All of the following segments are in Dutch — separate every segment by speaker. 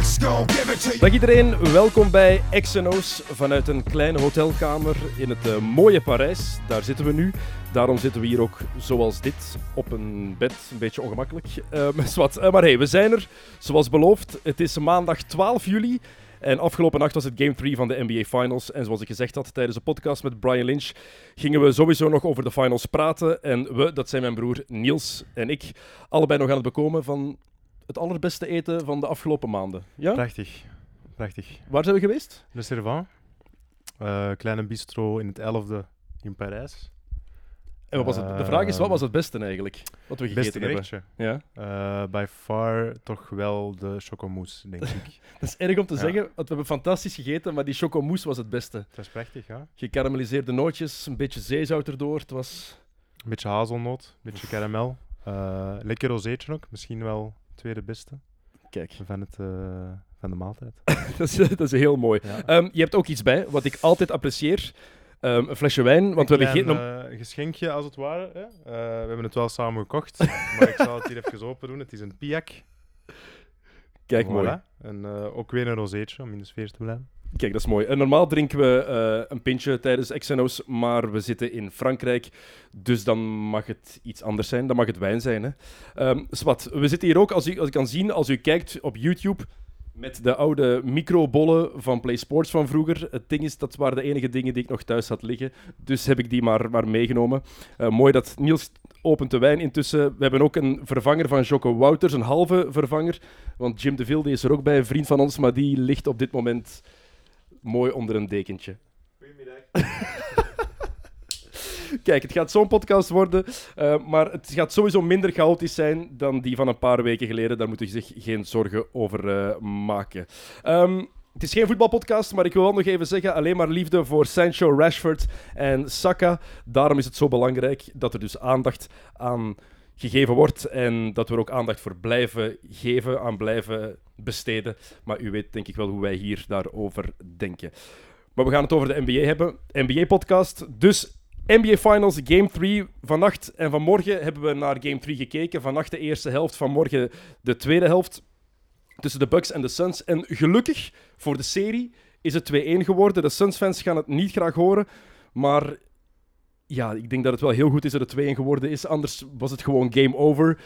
Speaker 1: X gon' give it to you.
Speaker 2: Dag iedereen, welkom bij XNO's vanuit een kleine hotelkamer in het eh, mooie Parijs. Daar zitten we nu. Daarom zitten we hier ook zoals dit op een bed. Een beetje ongemakkelijk. Ehm, is wat. Eh, maar hey, we zijn er. Zoals beloofd, het is maandag 12 juli. En afgelopen nacht was het Game 3 van de NBA Finals. En zoals ik gezegd had tijdens de podcast met Brian Lynch, gingen we sowieso nog over de finals praten. En we, dat zijn mijn broer Niels en ik, allebei nog aan het bekomen van het allerbeste eten van de afgelopen maanden. Ja?
Speaker 3: Prachtig. Prachtig.
Speaker 2: Waar zijn we geweest?
Speaker 3: Le Servant. Eh, kleine bistro in het 11e in Parijs.
Speaker 2: En wat was het? De vraag is, wat was het beste eigenlijk? Wat we
Speaker 3: Ehm, Beste
Speaker 2: gegeten hebben.
Speaker 3: gerechtje.
Speaker 2: Ja.
Speaker 3: Eh by far toch wel de chocomousse, denk ik.
Speaker 2: Dat is erg om te
Speaker 3: Ja.
Speaker 2: zeggen, want we hebben fantastisch gegeten, maar die chocomousse was het beste.
Speaker 3: Dat is prachtig, ja.
Speaker 2: Gekarameliseerde nootjes, een beetje zeezout erdoor. Het was...
Speaker 3: Een beetje hazelnoot, een beetje karamel. Eh, lekker rozeetje ook. Misschien wel het tweede beste
Speaker 2: Kijk,
Speaker 3: van, het, eh, van de maaltijd.
Speaker 2: dat is, dat is heel mooi.
Speaker 3: Ja.
Speaker 2: Ehm, je hebt ook iets bij, wat ik altijd apprecieer. Ehm, een flesje wijn, want we
Speaker 3: Een
Speaker 2: hebben
Speaker 3: klein,
Speaker 2: geen...
Speaker 3: eh, geschenkje, als het ware. Hè? Eh, we hebben het wel samen gekocht, maar ik zal het hier even open doen. Het is een piak.
Speaker 2: Kijk,
Speaker 3: eh, Voilà.
Speaker 2: mooi.
Speaker 3: En eh, ook weer een rozeetje, om in de sfeer te blijven.
Speaker 2: Kijk, dat is mooi. En normaal drinken we eh, een pintje tijdens XNO's, maar we zitten in Frankrijk, dus dan mag het iets anders zijn. Dan mag het wijn zijn, hè. Ehm, Swat, we zitten hier ook, als u, als ik kan zien, als u kijkt op YouTube, met de oude microbollen van Play Sports van vroeger. Het ding is, dat waren de enige dingen die ik nog thuis had liggen, dus heb ik die maar, maar meegenomen. Eh, mooi dat Niels opent de wijn intussen. We hebben ook een vervanger van Jocko Wouters, een halve vervanger, want Jim DeVille die is er ook bij, een vriend van ons, maar die ligt op dit moment mooi onder een dekentje. Goedemiddag. Kijk, het gaat zo'n podcast worden, eh, maar het gaat sowieso minder chaotisch zijn dan die van een paar weken geleden. Daar moet u zich geen zorgen over eh, maken. Ehm, het is geen voetbalpodcast, maar ik wil wel nog even zeggen: alleen maar liefde voor Sancho, Rashford en Saka. Daarom is het zo belangrijk dat er dus aandacht aan gegeven wordt en dat we er ook aandacht voor blijven geven, aan blijven besteden. Maar u weet denk ik wel hoe wij hier daarover denken. Maar we gaan het over de NBA hebben. NBA-podcast. Dus NBA Finals Game 3 vannacht en vanmorgen hebben we naar Game 3 gekeken. Vannacht de eerste helft, vanmorgen de tweede helft. Tussen de Bucks en de Suns. En gelukkig voor de serie is het 2-1 geworden. De Suns-fans gaan het niet graag horen. Maar ja, ik denk dat het wel heel goed is dat het 2-1 geworden is. Anders was het gewoon game over.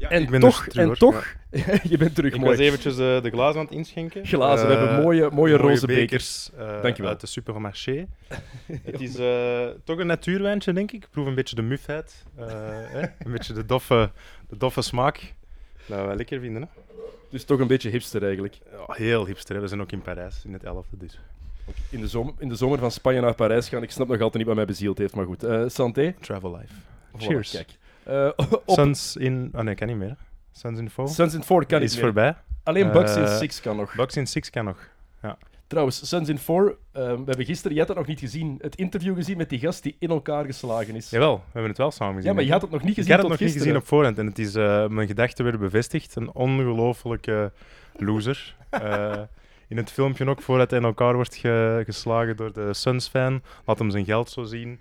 Speaker 2: en
Speaker 3: ik ben
Speaker 2: toch,
Speaker 3: dus terug,
Speaker 2: en
Speaker 3: hoor.
Speaker 2: toch, je bent terug,
Speaker 3: Ik
Speaker 2: mooi.
Speaker 3: was eventjes eh, de glazen aan het inschenken.
Speaker 2: Glazen, we
Speaker 3: Eh,
Speaker 2: hebben mooie, mooie roze bekers.
Speaker 3: eh,
Speaker 2: Dankjewel.
Speaker 3: Uit de supermarché. het is eh, toch een natuurwijntje, denk ik. Ik proef een beetje de mufheid. eh, hè? Een beetje de doffe, de doffe smaak. Dat we wel lekker vinden. Hè?
Speaker 2: Dus toch een beetje hipster eigenlijk.
Speaker 3: Ja, heel hipster. Hè? We zijn ook in Parijs, in het 11e. Dus.
Speaker 2: In de, zomer, in de zomer van Spanje naar Parijs gaan. Ik snap nog altijd niet wat mij bezield heeft, maar goed. Eh, santé.
Speaker 3: Travel life.
Speaker 2: Voilà,
Speaker 3: Cheers.
Speaker 2: kijk. Eh, op
Speaker 3: Suns in... Oh nee, kan niet meer. hè. Suns in 4
Speaker 2: Suns in 4 kan
Speaker 3: is
Speaker 2: niet meer.
Speaker 3: voorbij.
Speaker 2: Alleen Bucks in
Speaker 3: Eh,
Speaker 2: 6 kan nog.
Speaker 3: Bucks in 6 kan nog.
Speaker 2: Trouwens, Suns in 4. we hebben gisteren, jij had dat nog niet gezien, het interview gezien met die gast die in elkaar geslagen is.
Speaker 3: Jawel, we hebben het wel samen gezien.
Speaker 2: ja, maar
Speaker 3: hè?
Speaker 2: je had het nog niet
Speaker 3: Ik
Speaker 2: gezien
Speaker 3: had het
Speaker 2: tot
Speaker 3: nog niet
Speaker 2: gisteren.
Speaker 3: gezien op voorhand en het is, eh, mijn gedachten werden bevestigd. Een ongelofelijke loser. Eh, in het filmpje ook, voordat hij in elkaar wordt ge- geslagen door de Suns-fan, laat hem zijn geld zo zien.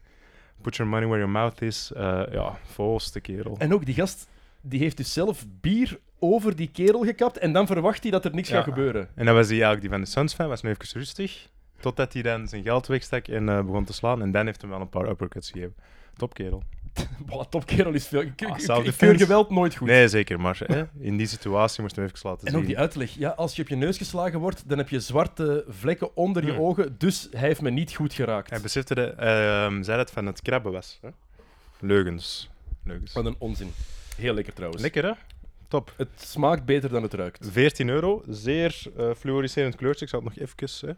Speaker 3: Put your money where your mouth is. Eh, ja, volste kerel.
Speaker 2: En ook die gast, die heeft dus zelf bier over die kerel gekapt en dan verwacht hij dat er niks
Speaker 3: Ja.
Speaker 2: gaat gebeuren.
Speaker 3: En dan was hij eigenlijk, die van de Suns-fan, was nu even rustig. Totdat hij dan zijn geld wegstak en eh, begon te slaan. En dan heeft hem wel een paar uppercuts gegeven. Top kerel.
Speaker 2: Boah, topkerel is veel... Ik,
Speaker 3: Ah,
Speaker 2: ik- ik
Speaker 3: self-defense.
Speaker 2: keur geweld nooit goed.
Speaker 3: Nee, zeker, maar hè, in die situatie moest hij hem even laten
Speaker 2: En
Speaker 3: zien.
Speaker 2: ook die uitleg. Ja, als je op je neus geslagen wordt, dan heb je zwarte vlekken onder je
Speaker 3: Hmm.
Speaker 2: ogen. Dus hij heeft me niet goed geraakt.
Speaker 3: Hij besefte dat, ehm, zei dat het van het krabben was. Hè? Leugens. Leugens.
Speaker 2: Wat een onzin. Heel lekker trouwens.
Speaker 3: Lekker hè? Top.
Speaker 2: Het smaakt beter dan het ruikt.
Speaker 3: 14 euro, zeer eh fluoriserend kleurtje. Ik zal het nog even. Hè?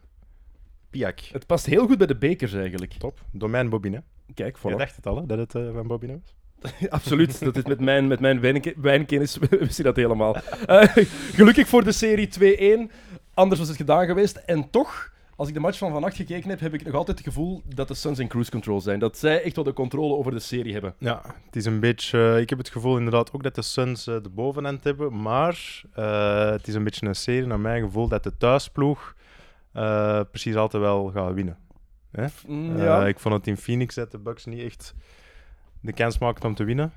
Speaker 3: Piak.
Speaker 2: Het past heel goed bij de bekers eigenlijk.
Speaker 3: Top. Domein Bobine.
Speaker 2: Kijk,
Speaker 3: Je
Speaker 2: voilà.
Speaker 3: dacht het al, hè, dat het eh, van Bobine was.
Speaker 2: Absoluut. Dat is met mijn, met mijn wijnke- wijnkennis wist je dat helemaal. Eh, gelukkig voor de serie 2-1. Anders was het gedaan geweest. En toch, Als ik de match van vannacht gekeken heb, heb ik nog altijd het gevoel dat de Suns in cruise control zijn. Dat zij echt wel de controle over de serie hebben.
Speaker 3: Ja, het is een beetje. eh, ik heb het gevoel inderdaad ook dat de Suns eh, de bovenhand hebben. Maar eh, het is een beetje een serie, naar mijn gevoel, dat de thuisploeg eh, precies altijd wel gaat winnen.
Speaker 2: Mm,
Speaker 3: Eh,
Speaker 2: ja.
Speaker 3: ik vond het in Phoenix dat de Bucks niet echt de kans maakten om te winnen.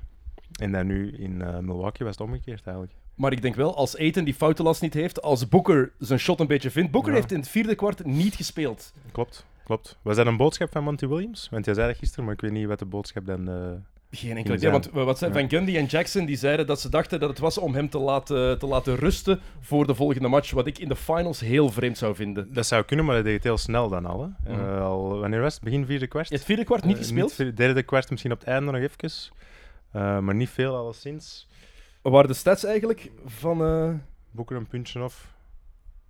Speaker 3: En dan nu in eh, Milwaukee was het omgekeerd eigenlijk.
Speaker 2: Maar ik denk wel, als Eten die foutenlast niet heeft, als Booker zijn shot een beetje vindt. Booker
Speaker 3: Ja.
Speaker 2: heeft in het vierde kwart niet gespeeld.
Speaker 3: Klopt, klopt. Was dat een boodschap van Monty Williams? Want jij zei dat gisteren, maar ik weet niet wat de boodschap dan. eh,
Speaker 2: Geen enkele
Speaker 3: Gingen
Speaker 2: idee.
Speaker 3: zijn.
Speaker 2: Want eh, wat zei
Speaker 3: Ja.
Speaker 2: Van Gundy en Jackson die zeiden dat ze dachten dat het was om hem te laten, te laten rusten voor de volgende match. Wat ik in de finals heel vreemd zou vinden.
Speaker 3: Dat zou kunnen, maar dat deed het heel snel dan al. Hè.
Speaker 2: Mhm.
Speaker 3: Eh, al wanneer was het? Begin vierde kwart?
Speaker 2: In het vierde kwart niet
Speaker 3: Eh,
Speaker 2: gespeeld.
Speaker 3: vier- derde kwart misschien op het einde nog even. Eh, maar niet veel alleszins.
Speaker 2: Waren de stats eigenlijk van. eh,
Speaker 3: Boeken een puntje of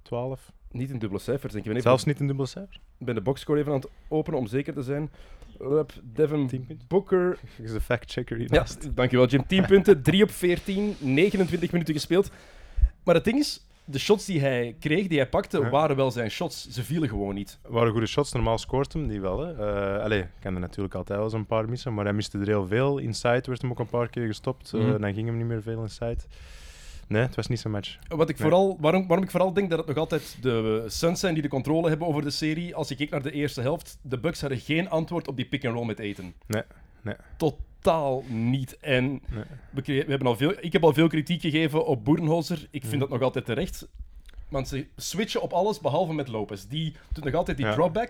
Speaker 3: 12.
Speaker 2: niet in dubbele cijfers, denk je. Ik ben even-
Speaker 3: Zelfs niet een dubbel cijfer.
Speaker 2: Ik ben de boxscore even aan het openen om zeker te zijn. Rep, Devin
Speaker 3: 10 punten.
Speaker 2: Booker.
Speaker 3: Ik is de fact-checker hier.
Speaker 2: Ja, dankjewel Jim. 10 punten, 3 op 14, 29 minuten gespeeld. Maar het ding is, de shots die hij kreeg, die hij pakte,
Speaker 3: Ja.
Speaker 2: waren wel zijn shots. Ze vielen gewoon niet.
Speaker 3: waren goede shots. Normaal scoort hem die wel. Hè. Eh, allee, ik kan er natuurlijk altijd wel eens een paar missen, maar hij miste er heel veel. Inside werd hem ook een paar keer gestopt. eh,
Speaker 2: Mhm.
Speaker 3: dan ging hem niet meer veel inside. Nee, het was niet zijn match.
Speaker 2: Wat ik
Speaker 3: Nee.
Speaker 2: vooral, waarom, waarom ik vooral denk dat het nog altijd de eh, Suns zijn die de controle hebben over de serie. Als je kijkt naar de eerste helft, de Bucks hadden geen antwoord op die pick-and-roll met eten.
Speaker 3: Nee, nee.
Speaker 2: Totaal niet. En
Speaker 3: Nee.
Speaker 2: we, kre- we hebben al veel, ik heb al veel kritiek gegeven op Boerenholzer. Ik
Speaker 3: Mhm.
Speaker 2: vind dat nog altijd terecht. Want ze switchen op alles, behalve met Lopez. Die doet nog altijd die
Speaker 3: Ja.
Speaker 2: dropback.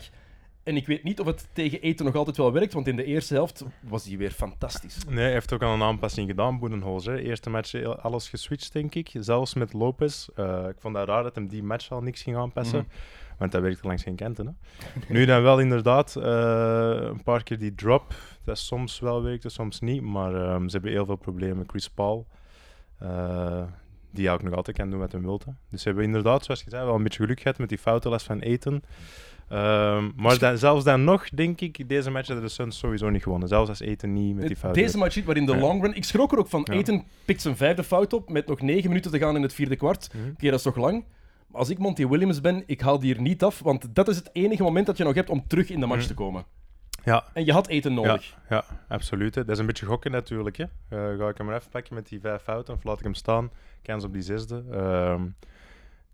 Speaker 2: En ik weet niet of het tegen eten nog altijd wel werkt, want in de eerste helft was die weer fantastisch.
Speaker 3: Nee, hij heeft ook al een aanpassing gedaan, Boedenholzer. Eerste match heel- alles geswitcht, denk ik. Zelfs met Lopez. Eh, ik vond dat raar dat hem die match al niks ging aanpassen. Want dat werkte langs geen kanten. Hè? Nu dan wel inderdaad eh, een paar keer die drop. Dat soms wel werkte, soms niet. Maar ehm, ze hebben heel veel problemen. Chris Paul, eh, die ook nog altijd kan doen wat hij wil. hè. Dus ze hebben inderdaad, zoals je zei, wel een beetje geluk gehad met die foutenlast van Eten. Ehm, maar dan, zelfs dan nog, denk ik, deze match hadden de Suns sowieso niet gewonnen. Zelfs als Eten niet met die fouten.
Speaker 2: Eh, Deze match niet, waarin de
Speaker 3: Ja.
Speaker 2: long run... Ik schrok er ook van.
Speaker 3: Ja.
Speaker 2: Eten pikt zijn vijfde fout op met nog negen minuten te gaan in het vierde kwart. Oké,
Speaker 3: Mhm.
Speaker 2: dat is toch lang? Maar als ik Monty Williams ben, ik haal die er niet af. Want dat is het enige moment dat je nog hebt om terug in de match
Speaker 3: Mhm.
Speaker 2: te komen.
Speaker 3: Ja,
Speaker 2: En je had Eten
Speaker 3: ja,
Speaker 2: nodig.
Speaker 3: ja, absoluut. Hè. Dat is een beetje gokken natuurlijk. Hè. Eh, ga ik hem er even pakken met die vijf fouten of laat ik hem staan? Kans op die zesde. Ehm,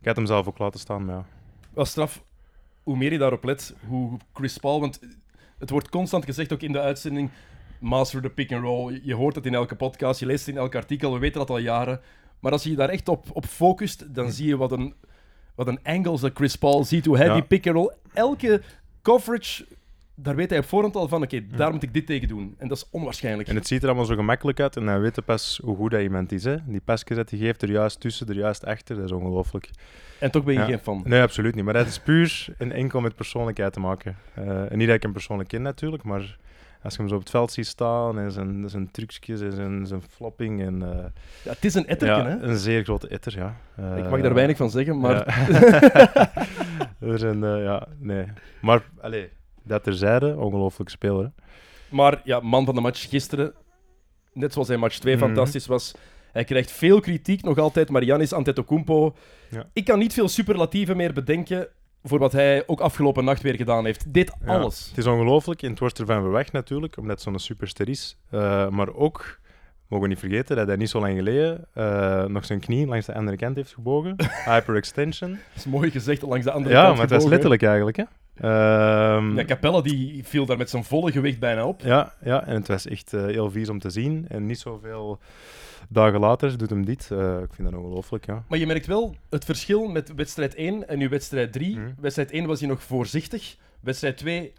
Speaker 3: ik had hem zelf ook laten staan, maar ja.
Speaker 2: Wel straf, hoe meer je daarop let, hoe Chris Paul... Want het wordt constant gezegd, ook in de uitzending... Master the pick and roll. Je hoort het in elke podcast, je leest het in elk artikel. We weten dat al jaren. Maar als je je daar echt op, op focust, dan zie je wat een, wat een angles dat Chris Paul ziet. Hoe hij
Speaker 3: Ja.
Speaker 2: die pick and roll... Elke coverage, daar weet hij op voorhand al van... Oké, daar moet ik dit tegen doen. En dat is onwaarschijnlijk.
Speaker 3: En het ziet er allemaal zo gemakkelijk uit en dan weet je pas hoe goed dat iemand is. Hè. Die pasjes dat hij geeft, er juist tussen, er juist achter, dat is ongelooflijk.
Speaker 2: En toch ben je
Speaker 3: Ja.
Speaker 2: geen fan.
Speaker 3: Nee, absoluut niet. Maar dat is puur en enkel met persoonlijkheid te maken. Eh, en niet dat ik hem persoonlijk ken natuurlijk, maar als je hem zo op het veld ziet staan en zijn, zijn trucjes en zijn, zijn flopping en... eh,
Speaker 2: Ja, het is een etterken, hè?
Speaker 3: ja, Een zeer grote etter, ja.
Speaker 2: Ik mag
Speaker 3: Eh,
Speaker 2: daar weinig van zeggen, maar...
Speaker 3: Ja. er zijn, eh, ja, nee. Maar, allee, dat terzijde, ongelooflijk speler. hè.
Speaker 2: Maar ja, man van de match gisteren, net zoals hij match 2
Speaker 3: Mhm.
Speaker 2: fantastisch was. Hij krijgt veel kritiek nog altijd, maar Giannis Antetokounmpo.
Speaker 3: Ja.
Speaker 2: Ik kan niet veel superlatieven meer bedenken voor wat hij ook afgelopen nacht weer gedaan heeft. Dit
Speaker 3: Ja.
Speaker 2: alles.
Speaker 3: Het is ongelooflijk en het wordt ervan verwacht natuurlijk, omdat het zo'n superster is. Eh, maar ook, mogen we niet vergeten, dat hij niet zo lang geleden eh, nog zijn knie langs de andere kant heeft gebogen. Hyperextension.
Speaker 2: Dat is mooi gezegd langs de andere
Speaker 3: ja,
Speaker 2: kant.
Speaker 3: maar het was
Speaker 2: gebogen, hè.
Speaker 3: letterlijk eigenlijk, hè. Ehm,
Speaker 2: Ja, Capella die viel daar met zijn volle gewicht bijna op.
Speaker 3: Ja, ja, en het was echt eh, heel vies om te zien. En niet zoveel dagen later doet hem dit. Eh, ik vind dat ongelooflijk, ja.
Speaker 2: Maar je merkt wel het verschil met wedstrijd 1 en nu wedstrijd 3.
Speaker 3: Mhm.
Speaker 2: Wedstrijd 1 was hij nog voorzichtig. Wedstrijd 2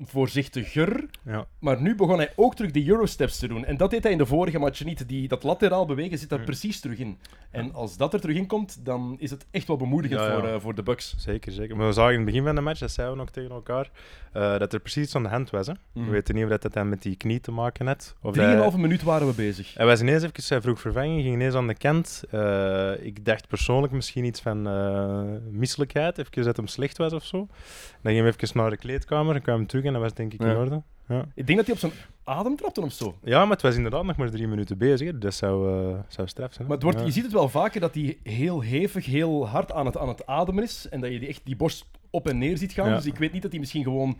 Speaker 2: voorzichtiger.
Speaker 3: ja.
Speaker 2: Maar nu begon hij ook terug de Eurosteps te doen. En dat deed hij in de vorige match niet. Die, dat lateraal bewegen zit daar precies terug in. En als dat er terug in komt, dan is het echt wel bemoedigend
Speaker 3: Ja, ja.
Speaker 2: Voor, eh, voor de Bucks.
Speaker 3: Zeker, zeker. Maar we zagen in het begin van de match, dat zeiden we nog tegen elkaar, eh, dat er precies iets aan de hand was. Hè?
Speaker 2: Mhm.
Speaker 3: We weten niet of dat, dat dan met die knie te maken had. Of eh, dat...
Speaker 2: 3,5 minuut waren we bezig.
Speaker 3: Hij was ineens even, hij vroeg vervanging, ging ineens aan de kant. Eh, ik dacht persoonlijk misschien iets van eh, misselijkheid, even dat hem slecht was of zo. Dan ging hij even naar de kleedkamer, dan kwam hij terug en dat was denk ik
Speaker 2: Ja.
Speaker 3: in orde. Ja.
Speaker 2: Ik denk dat hij op zijn adem trapte of zo.
Speaker 3: ja, maar het was inderdaad nog maar drie minuten bezig. hè, Dus dat zou, eh zou straf zijn. hè.
Speaker 2: Maar het wordt,
Speaker 3: Ja.
Speaker 2: je ziet het wel vaker dat hij heel hevig, heel hard aan het, aan het ademen is. En dat je die echt die borst op en neer ziet gaan.
Speaker 3: Ja.
Speaker 2: Dus ik weet niet dat hij misschien gewoon.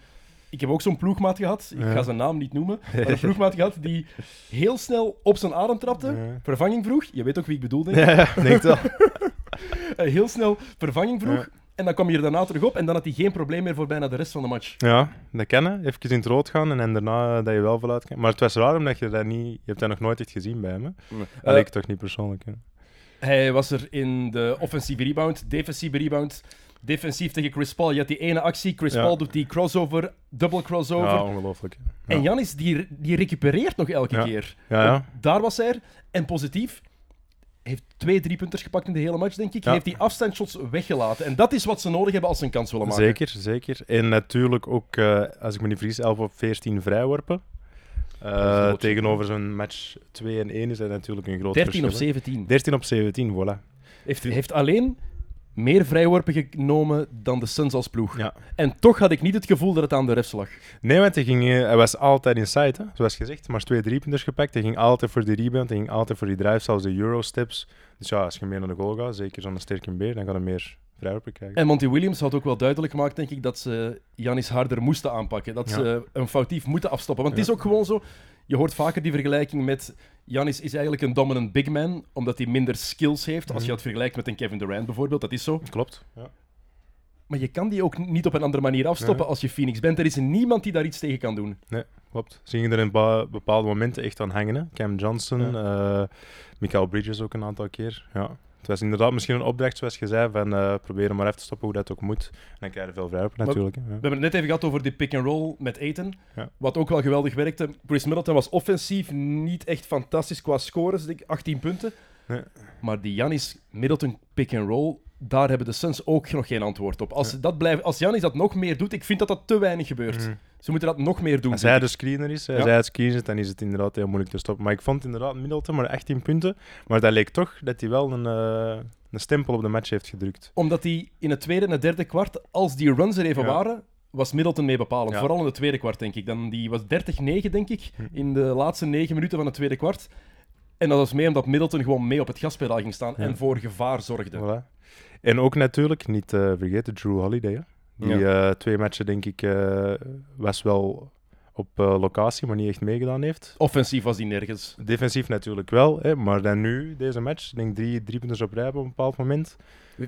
Speaker 2: Ik heb ook zo'n ploegmaat gehad, ik
Speaker 3: Ja.
Speaker 2: ga zijn naam niet noemen. Maar een ploegmaat gehad die heel snel op zijn adem trapte,
Speaker 3: Ja.
Speaker 2: vervanging vroeg. Je weet ook wie ik bedoel, denk ik.
Speaker 3: Ja, ja, ik denk het wel.
Speaker 2: Eh, heel snel vervanging vroeg.
Speaker 3: Ja.
Speaker 2: En dan kwam hij er daarna terug op. En dan had hij geen probleem meer voor bijna de rest van de match.
Speaker 3: Ja, dat kennen. Even in het rood gaan en, dan daarna eh, dat je wel vooruit kan. Maar het was raar omdat je dat niet... Je hebt dat nog nooit echt gezien bij me. Dat
Speaker 2: Eh,
Speaker 3: ik toch niet persoonlijk. hè.
Speaker 2: Hij was er in de offensieve rebound, defensieve rebound. Defensief tegen Chris Paul. Je had die ene actie. Chris
Speaker 3: Ja.
Speaker 2: Paul doet die crossover, double crossover.
Speaker 3: Ja, ongelooflijk. hè.
Speaker 2: En
Speaker 3: Ja.
Speaker 2: Janis, die, die recupereert nog elke
Speaker 3: Ja.
Speaker 2: keer.
Speaker 3: Ja, ja.
Speaker 2: Want Daar was hij er. En positief. Heeft twee driepunters gepakt in de hele match, denk ik.
Speaker 3: Ja.
Speaker 2: Heeft die afstandsshots weggelaten. En dat is wat ze nodig hebben als ze een kans willen maken.
Speaker 3: Zeker, zeker. En natuurlijk ook, eh, als ik me niet vergis, 11 op 14 vrijworpen. Eh,
Speaker 2: groot verschil.
Speaker 3: tegenover zo'n match 2 en 1 is dat natuurlijk een groot
Speaker 2: 13 op
Speaker 3: verschil, hè.
Speaker 2: 17.
Speaker 3: 13 op 17, voilà.
Speaker 2: Heeft, heeft alleen meer vrijworpen genomen dan de Suns als ploeg.
Speaker 3: Ja.
Speaker 2: En toch had ik niet het gevoel dat het aan de refs lag.
Speaker 3: Nee, want hij, ging, eh, hij was altijd inside, hè? zoals gezegd. Maar twee driepunters gepakt. Hij ging altijd voor die rebound. Hij ging altijd voor die drive, zelfs de Eurosteps. Dus ja, als je meer naar de goal gaat, zeker zo'n sterke beer, dan gaat hij meer vrijworpen krijgen.
Speaker 2: En Monty Williams had ook wel duidelijk gemaakt, denk ik, dat ze Janis harder moesten aanpakken. Dat
Speaker 3: Ja.
Speaker 2: ze een foutief moeten afstoppen. Want het is ook gewoon zo, je hoort vaker die vergelijking met... Janis is eigenlijk een dominant big man, omdat hij minder skills heeft.
Speaker 3: Mhm.
Speaker 2: Als je dat vergelijkt met een Kevin Durant bijvoorbeeld, dat is zo.
Speaker 3: Klopt. Ja.
Speaker 2: Maar je kan die ook niet op een andere manier afstoppen
Speaker 3: Nee.
Speaker 2: als je Phoenix bent. Er is niemand die daar iets tegen kan doen.
Speaker 3: Nee, klopt. Ze gingen er in ba- bepaalde momenten echt aan hangen. Hè? Cam Johnson, eh, Michael Bridges ook een aantal keer. Ja. Het was inderdaad misschien een opdracht, zoals je zei, van eh proberen maar even te stoppen hoe dat ook moet. En dan krijg je veel vrijworpen
Speaker 2: Maar-
Speaker 3: natuurlijk. hè. Ja.
Speaker 2: We hebben het net even gehad over die pick-and-roll met Eten.
Speaker 3: Ja.
Speaker 2: Wat ook wel geweldig werkte. Chris Middleton was offensief niet echt fantastisch qua scores. Ik denk 18 punten.
Speaker 3: Nee.
Speaker 2: Maar die Janis Middleton pick-and-roll, daar hebben de Suns ook nog geen antwoord op. Als, ze dat blijven, als Janis dat nog meer doet, ik vind dat dat te weinig gebeurt.
Speaker 3: Mhm.
Speaker 2: Ze moeten dat nog meer doen.
Speaker 3: Als
Speaker 2: vind
Speaker 3: hij
Speaker 2: ik.
Speaker 3: de screener is, als
Speaker 2: Ja.
Speaker 3: hij het screen zit, dan is het inderdaad heel moeilijk te stoppen. Maar ik vond inderdaad Middleton maar 18 punten. Maar dat leek toch dat hij wel een, eh, een stempel op de match heeft gedrukt.
Speaker 2: Omdat hij in het tweede en het derde kwart, als die runs er even
Speaker 3: Ja.
Speaker 2: waren, was Middleton mee bepalend.
Speaker 3: Ja. Hm.
Speaker 2: Vooral in het tweede kwart, denk ik. Dan, die was 30-9, denk ik, in de laatste negen minuten van het tweede kwart. En dat was mee omdat Middleton gewoon mee op het gaspedaal ging staan en voor gevaar zorgde.
Speaker 3: Voilà. En ook natuurlijk, niet eh, vergeten, Drew Holiday. hè. Die eh, twee matchen, denk ik, eh, was wel op eh, locatie, maar niet echt meegedaan heeft.
Speaker 2: Offensief was hij nergens.
Speaker 3: Defensief natuurlijk wel, hè, maar dan nu, deze match, denk ik drie, drie punten op rij op een bepaald moment.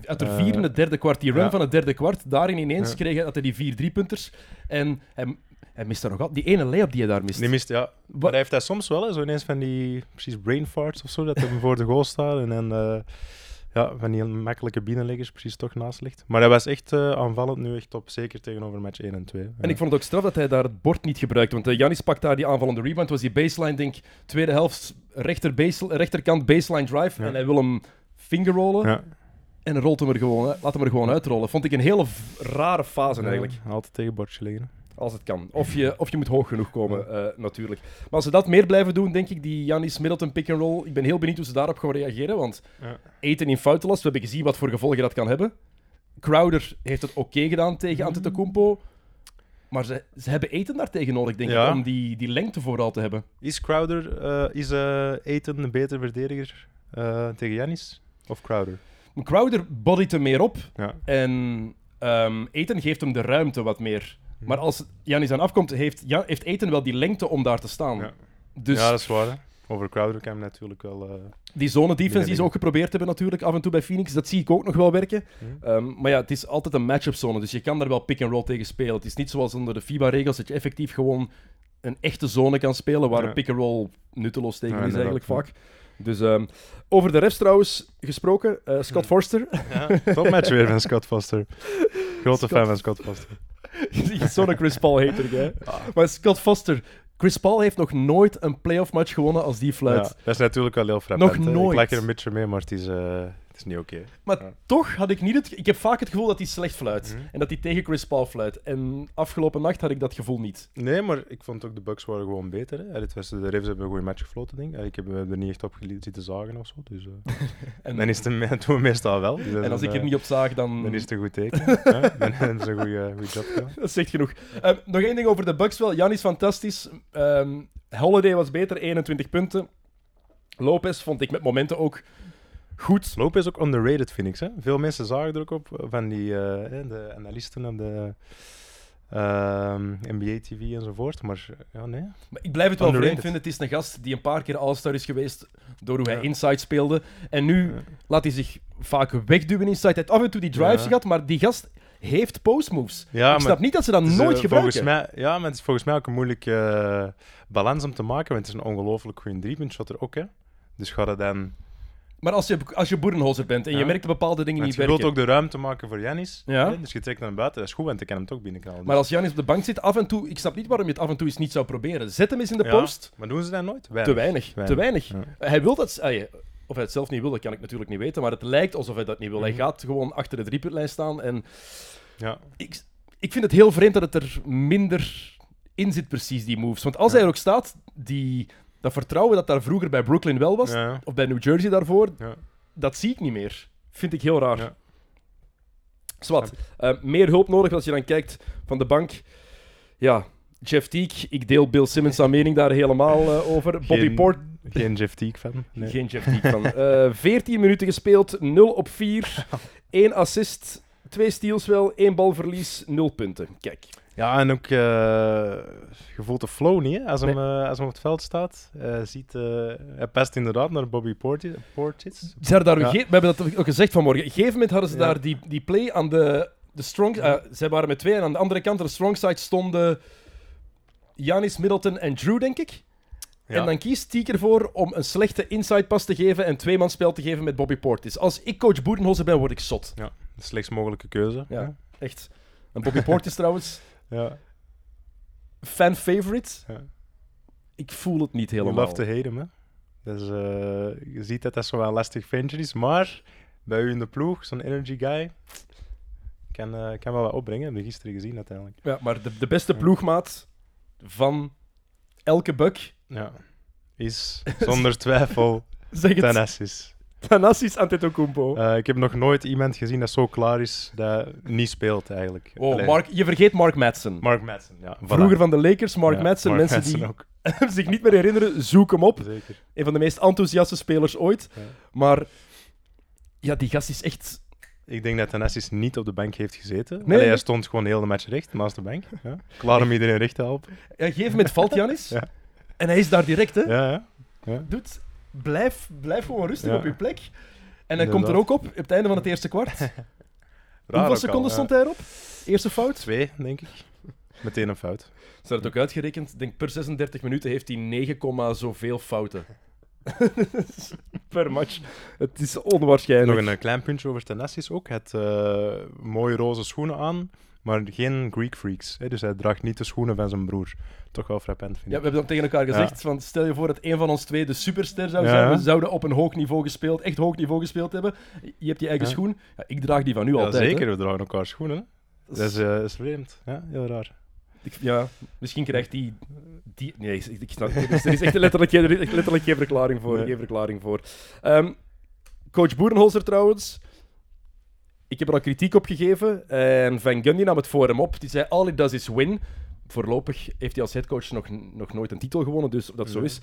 Speaker 2: Uit er
Speaker 3: Eh,
Speaker 2: vier in het derde kwart, die run
Speaker 3: ja.
Speaker 2: van het derde kwart, daarin ineens
Speaker 3: Ja.
Speaker 2: kreeg hij, had hij die vier driepunters. En hij, hij mist daar nog al. Die ene layup die hij daar mist.
Speaker 3: Die mist, ja. Maar
Speaker 2: Wat-
Speaker 3: hij heeft dat soms wel, hè, zo ineens van die precies brain farts of zo, dat hij voor de goal staat en dan eh, ja, van die makkelijke binnenleggers precies toch naast ligt. Maar hij was echt eh, aanvallend nu echt op, zeker tegenover match 1 en 2.
Speaker 2: En ik vond het ook straf dat hij daar het bord niet gebruikte. Want eh, Janis pakt daar die aanvallende rebound. Was die baseline, denk ik, tweede helft, rechter basel- rechterkant baseline drive.
Speaker 3: Ja.
Speaker 2: En hij wil hem fingerrollen.
Speaker 3: ja.
Speaker 2: En rolt hem er gewoon, hè. laat hem er gewoon uitrollen. Vond ik een hele v- rare fase eigenlijk.
Speaker 3: Ja, Altijd tegen bordje liggen.
Speaker 2: Als het kan. Of je, of je moet hoog genoeg komen, eh, natuurlijk. Maar als ze dat meer blijven doen, denk ik, die Janis Middleton pick-and-roll. Ik ben heel benieuwd hoe ze daarop gaan reageren. Want
Speaker 3: Ja.
Speaker 2: eten in foutenlast, we hebben gezien wat voor gevolgen dat kan hebben. Crowder heeft het oké gedaan
Speaker 3: Mm.
Speaker 2: tegen Antetokounmpo. Maar ze, ze hebben eten daartegen nodig, denk
Speaker 3: Ja.
Speaker 2: ik, om die, die lengte vooral te hebben.
Speaker 3: Is Crowder, eh, is eh Eten een beter verdediger eh, tegen Janis? Of Crowder?
Speaker 2: Maar Crowder bodyt hem meer op
Speaker 3: Ja.
Speaker 2: en ehm, Eten geeft hem de ruimte wat meer.
Speaker 3: Mm.
Speaker 2: Maar als Janis aan afkomt, heeft, ja, heeft Eten wel die lengte om daar te staan.
Speaker 3: Ja.
Speaker 2: Dus
Speaker 3: ja, dat is waar. hè. Over Crowder kan hem natuurlijk wel... eh,
Speaker 2: Die zone-defense die ze
Speaker 3: Binnenliggen.
Speaker 2: ook geprobeerd hebben natuurlijk af en toe bij Phoenix, dat zie ik ook nog wel werken. Ehm, maar ja, het is altijd een match-up zone, dus je kan daar wel pick-and-roll tegen spelen. Het is niet zoals onder de FIBA-regels dat je effectief gewoon een echte zone kan spelen, waar
Speaker 3: Ja.
Speaker 2: een pick-and-roll nutteloos tegen
Speaker 3: Ja,
Speaker 2: is eigenlijk
Speaker 3: inderdaad,
Speaker 2: vaak. Dus ehm, over de refs trouwens gesproken, eh, Scott Forster.
Speaker 3: Topmatch weer van Scott Foster. Grote fan van Scott Foster.
Speaker 2: Je is Zo'n Chris Paul-hater, hè?
Speaker 3: Ah.
Speaker 2: Maar Scott Foster, Chris Paul heeft nog nooit een playoff-match gewonnen als die
Speaker 3: Ja,
Speaker 2: fluit.
Speaker 3: dat is natuurlijk wel heel frappant.
Speaker 2: Nog
Speaker 3: hè.
Speaker 2: nooit.
Speaker 3: Ik lijk er een beetje mee, maar het is, eh, het is niet oké.
Speaker 2: Maar
Speaker 3: Ja.
Speaker 2: toch had ik niet het... Ik heb vaak het gevoel dat hij slecht fluit.
Speaker 3: Mhm.
Speaker 2: En dat hij tegen Chris Paul fluit. En afgelopen nacht had ik dat gevoel niet.
Speaker 3: Nee, maar ik vond ook de Bucks waren gewoon beter. Hè. Dit was, de Ravens hebben een goede match gefloten, denk ik. Ik heb eh, er niet echt op geli- zitten zagen of zo. Dus, eh,
Speaker 2: En,
Speaker 3: dan is het me- doen we meestal wel. Dus dat is
Speaker 2: en als
Speaker 3: een,
Speaker 2: ik er
Speaker 3: eh,
Speaker 2: niet op zaag, dan...
Speaker 3: Dan is het een goed teken. hè. Dan hebben ze een goede, goede job gedaan.
Speaker 2: Dat zegt genoeg. Ehm, nog één ding over de Bucks wel. Jan is fantastisch. Ehm, Holiday was beter, 21 punten. Lopez vond ik met momenten ook goed.
Speaker 3: Lopez is ook underrated, vind ik. Hè? Veel mensen zagen er ook op eh, van die eh, hè, de analisten op de ehm, NBA TV enzovoort. Maar eh, ja, nee.
Speaker 2: Maar ik blijf het wel vreemd
Speaker 3: Underrated.
Speaker 2: vinden. Het is een gast die een paar keer All-Star is geweest door hoe hij
Speaker 3: Ja.
Speaker 2: inside speelde. En nu
Speaker 3: Ja.
Speaker 2: laat hij zich vaak wegduwen inside. Hij heeft af en toe die drives
Speaker 3: Ja.
Speaker 2: gehad, maar die gast heeft postmoves.
Speaker 3: Ja,
Speaker 2: ik snap niet dat ze dat
Speaker 3: het is, eh,
Speaker 2: nooit gebruiken.
Speaker 3: Volgens mij, ja, maar het is volgens mij ook een moeilijke eh, balans om te maken. Want het is een ongelooflijk goede driepunt shotter ook. Hè? Dus ga dat dan.
Speaker 2: Maar als je, als je boerenhozer bent en je
Speaker 3: Ja.
Speaker 2: merkt dat bepaalde dingen
Speaker 3: Want
Speaker 2: niet
Speaker 3: je wilt
Speaker 2: werken...
Speaker 3: ook de ruimte maken voor Janis.
Speaker 2: Ja.
Speaker 3: hè, Dus je trekt naar buiten. Dat is goed, want ik kan hem toch binnenknallen.
Speaker 2: Maar
Speaker 3: Dus-
Speaker 2: als Janis op de bank zit, af en toe... Ik snap niet waarom je het af en toe eens niet zou proberen. Zet hem eens in de
Speaker 3: Ja,
Speaker 2: post.
Speaker 3: Maar doen ze dat nooit?
Speaker 2: Te weinig. Te weinig.
Speaker 3: Ja.
Speaker 2: Hij wil dat... ah, ja, Of hij het zelf niet wil, dat kan ik natuurlijk niet weten. Maar het lijkt alsof hij dat niet wil. Hij
Speaker 3: Mhm.
Speaker 2: gaat gewoon achter de driepuntlijn staan. En
Speaker 3: Ja.
Speaker 2: ik, ik vind het heel vreemd dat het er minder in zit, precies, die moves. Want als
Speaker 3: Ja.
Speaker 2: hij er ook staat, die, dat vertrouwen dat daar vroeger bij Brooklyn wel was,
Speaker 3: Ja.
Speaker 2: of bij New Jersey daarvoor,
Speaker 3: Ja.
Speaker 2: dat zie ik niet meer. Vind ik heel raar.
Speaker 3: Ja.
Speaker 2: Zwat, eh, meer hulp nodig als je dan kijkt van de bank. Ja, Jeff Teague, ik deel Bill Simmons zijn mening daar helemaal eh, over. Bobby
Speaker 3: Geen-
Speaker 2: Port,
Speaker 3: Geen Jeff Teague fan. Nee.
Speaker 2: geen Jeff Teague van. Eh, 14 minuten gespeeld, 0 op 4, 1 assist, 2 steals wel, 1 balverlies, 0 punten. Kijk.
Speaker 3: Ja, en ook eh je voelt de flow niet, hè? Als, hem, eh, als hem op het veld staat. eh, ziet, eh, hij past inderdaad naar Bobby Porti- Portis.
Speaker 2: Ze hadden daar
Speaker 3: Ja.
Speaker 2: ge- we hebben dat ook gezegd vanmorgen. Op een gegeven moment hadden ze
Speaker 3: Ja.
Speaker 2: daar die, die play aan de, de strong... eh, zij waren met twee en aan de andere kant, aan de strong side, stonden Janis, Middleton en Drew, denk ik. En dan kiest Tiek ervoor om een slechte inside pas te geven en tweemanspel te geven met Bobby Portis. Als ik coach Boerenholzer ben, word ik zot.
Speaker 3: Ja, de slechtst mogelijke keuze.
Speaker 2: Ja. Echt. En Bobby Portis trouwens,
Speaker 3: ja.
Speaker 2: fan favorite.
Speaker 3: Ja.
Speaker 2: Ik voel het niet
Speaker 3: You
Speaker 2: helemaal.
Speaker 3: love to hate him, hè? Dus, eh, je ziet dat dat zo'n lastig ventje is. Maar bij u in de ploeg, zo'n energy guy, kan, eh, kan wel wat opbrengen. Heb je gisteren gezien uiteindelijk.
Speaker 2: Ja, maar de, de beste ploegmaat van elke buck,
Speaker 3: Ja. Is zonder twijfel
Speaker 2: zeg het,
Speaker 3: Tanassis.
Speaker 2: Thanassis Antetokounmpo.
Speaker 3: Eh, ik heb nog nooit iemand gezien dat zo klaar is dat niet speelt eigenlijk.
Speaker 2: Wow,
Speaker 3: Allee,
Speaker 2: Oh, Mark, je vergeet Mark Madsen.
Speaker 3: Mark Madsen, ja. voilà.
Speaker 2: Vroeger van de Lakers, Mark
Speaker 3: Ja,
Speaker 2: Madsen.
Speaker 3: Mark
Speaker 2: mensen
Speaker 3: Madsen ook.
Speaker 2: die hem zich niet meer herinneren, zoek hem op.
Speaker 3: Zeker.
Speaker 2: Een van de meest enthousiaste spelers ooit.
Speaker 3: Ja.
Speaker 2: Maar ja, die gast is echt...
Speaker 3: Ik denk dat Thanassis niet op de bank heeft gezeten.
Speaker 2: nee.
Speaker 3: Allee, hij stond gewoon heel de match recht, naast de bank. Ja. Klaar om iedereen recht te helpen.
Speaker 2: Ja, Op een gegeven moment valt Janis.
Speaker 3: Ja.
Speaker 2: En hij is daar direct, hè.
Speaker 3: Ja, ja.
Speaker 2: Doet, blijf, blijf gewoon rustig
Speaker 3: Ja.
Speaker 2: op je plek. En hij
Speaker 3: Inderdaad.
Speaker 2: komt er ook op, op het einde van het eerste kwart.
Speaker 3: Raar ook
Speaker 2: Hoeveel
Speaker 3: al,
Speaker 2: seconden
Speaker 3: ja.
Speaker 2: stond hij erop? Eerste fout?
Speaker 3: Twee, denk ik. Meteen een fout.
Speaker 2: Ze hadden het ook uitgerekend. Ik denk per 36 minuten heeft hij 9, komma zoveel fouten. per match. Het is
Speaker 3: Nog
Speaker 2: onwaarschijnlijk.
Speaker 3: een eh, klein puntje over Thanassis ook. Hij had eh, mooie roze schoenen aan, maar geen Greek freaks. Hè? Dus hij draagt niet de schoenen van zijn broer. Toch wel frappant, vind ik.
Speaker 2: Ja, we hebben dat tegen elkaar gezegd. Van, stel je voor dat een van ons twee de superster zou
Speaker 3: Ja.
Speaker 2: zijn. We zouden op een hoog niveau gespeeld, echt hoog niveau gespeeld hebben. Je hebt je eigen
Speaker 3: Ja.
Speaker 2: schoen. Ja, ik draag die van nu
Speaker 3: Ja,
Speaker 2: altijd.
Speaker 3: zeker,
Speaker 2: hè.
Speaker 3: we dragen elkaar schoenen. hè. Dat is, eh, is vreemd. Ja, heel raar.
Speaker 2: Ik- ja, misschien krijgt die... die nee, ik, ik snap het. Er is- Er is echt letterlijk, geen- er is echt letterlijk geen verklaring voor.
Speaker 3: Nee.
Speaker 2: Geen verklaring voor. Ehm, Coach Boerenholzer trouwens. Ik heb er al kritiek op gegeven. En Van Gundy nam het voor hem op. Die zei, all it does is win. Voorlopig heeft hij als headcoach nog, nog nooit een titel gewonnen, dus of dat zo
Speaker 3: Nee.
Speaker 2: is.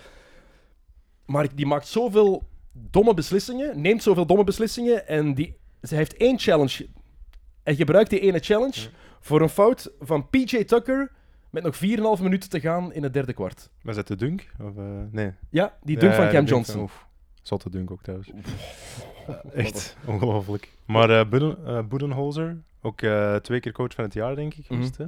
Speaker 2: Maar ik- die maakt zoveel domme beslissingen, neemt zoveel domme beslissingen. En die, ze heeft één challenge. Hij gebruikt die ene challenge voor een fout van PJ Tucker met nog 4,5 minuten te gaan in het derde kwart.
Speaker 3: Was dat de dunk? Of, eh, nee.
Speaker 2: Ja, die dunk
Speaker 3: Ja,
Speaker 2: van
Speaker 3: de
Speaker 2: Cam
Speaker 3: dunk
Speaker 2: Johnson.
Speaker 3: van- oef. Zotte dunk ook trouwens. Eh, Echt ongelooflijk. Maar eh Boeden, eh, Boedenholzer, ook eh, twee keer coach van het jaar, denk ik.
Speaker 2: Mhm.
Speaker 3: geweest, hè.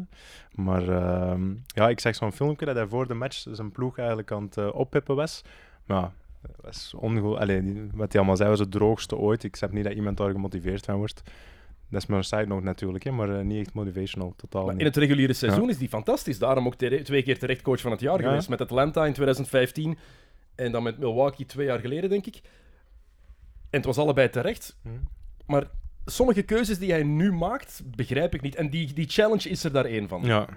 Speaker 3: Maar ehm, ja, ik zag zo'n filmpje dat hij voor de match zijn ploeg eigenlijk aan het eh, oppeppen was. Maar ja, dat was ongelooflijk. wat hij allemaal zei was het droogste ooit. Ik snap niet dat iemand daar gemotiveerd van wordt. Dat is maar een side note natuurlijk, hè, maar eh, niet echt motivational, totaal
Speaker 2: Maar
Speaker 3: niet.
Speaker 2: in het reguliere seizoen is die fantastisch. Daarom ook tere- twee keer terecht coach van het jaar
Speaker 3: Ja.
Speaker 2: geweest. Met Atlanta in 2015 en dan met Milwaukee twee jaar geleden, denk ik. het was allebei terecht.
Speaker 3: Hm.
Speaker 2: Maar sommige keuzes die hij nu maakt, begrijp ik niet. En die, die challenge is er daar één van.
Speaker 3: Ja.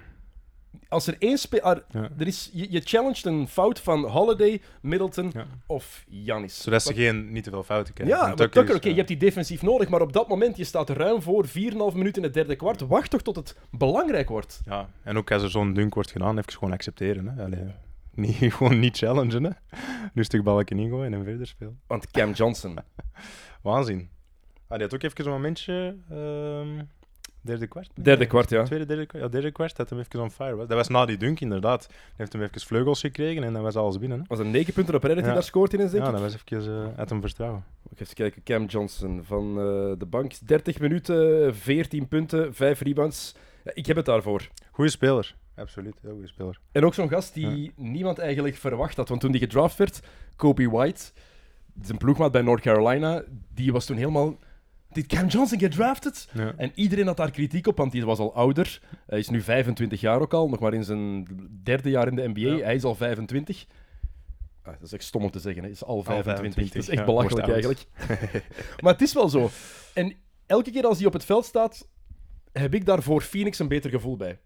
Speaker 2: Als er één speler...
Speaker 3: Ja.
Speaker 2: Er is, je, je challenged een fout van Holiday, Middleton
Speaker 3: Ja.
Speaker 2: of Janis.
Speaker 3: Zodat ze geen niet te veel fouten krijgen.
Speaker 2: Ja, maar
Speaker 3: Want
Speaker 2: Tucker,
Speaker 3: Tucker
Speaker 2: oké,
Speaker 3: is- eh,
Speaker 2: je hebt die defensief nodig, maar op dat moment, je staat ruim voor, 4,5 minuten in het derde kwart. Wacht toch tot het belangrijk wordt.
Speaker 3: Ja, en ook als er zo'n dunk wordt gedaan, even gewoon accepteren. Hè. Allee, niet, gewoon niet challengen. Hè. Rustig balken ingooien en verder spelen.
Speaker 2: Want Cam Johnson,
Speaker 3: Waanzin. Ah, die had ook even een momentje. ehm, derde kwart? nee?
Speaker 2: derde kwart, ja.
Speaker 3: Tweede, derde kwart. Ja, derde kwart dat hem even on fire was. Dat was na die dunk, inderdaad. Hij heeft hem even vleugels gekregen en dan was alles binnen. Hè.
Speaker 2: Was een 9 punten op rij dat hij
Speaker 3: Ja.
Speaker 2: daar scoort in, denk ik.
Speaker 3: Ja, dat was even eh, uit hem vertrouwen.
Speaker 2: Ik even kijken, Cam Johnson van eh, de bank. 30 minuten, 14 punten, 5 rebounds. Ja, ik heb het daarvoor.
Speaker 3: Goeie speler. Absoluut, heel goede speler.
Speaker 2: En ook zo'n gast die niemand eigenlijk verwacht had. Want toen die gedraft werd, Kobe White, zijn ploegmaat bij North Carolina, die was toen helemaal... Did Cam Johnson get drafted?
Speaker 3: Ja.
Speaker 2: En iedereen had daar kritiek op, want hij was al ouder. Hij is nu 25 jaar ook al, nog maar in zijn derde jaar in de NBA.
Speaker 3: Ja.
Speaker 2: Hij is al 25. Ah, dat is echt stom om te zeggen, hè. hij is al 25.
Speaker 3: 25,
Speaker 2: dat is echt
Speaker 3: ja,
Speaker 2: belachelijk
Speaker 3: wordt oud.
Speaker 2: eigenlijk. maar het is wel zo. En elke keer als hij op het veld staat, heb ik daar voor Phoenix een beter gevoel bij.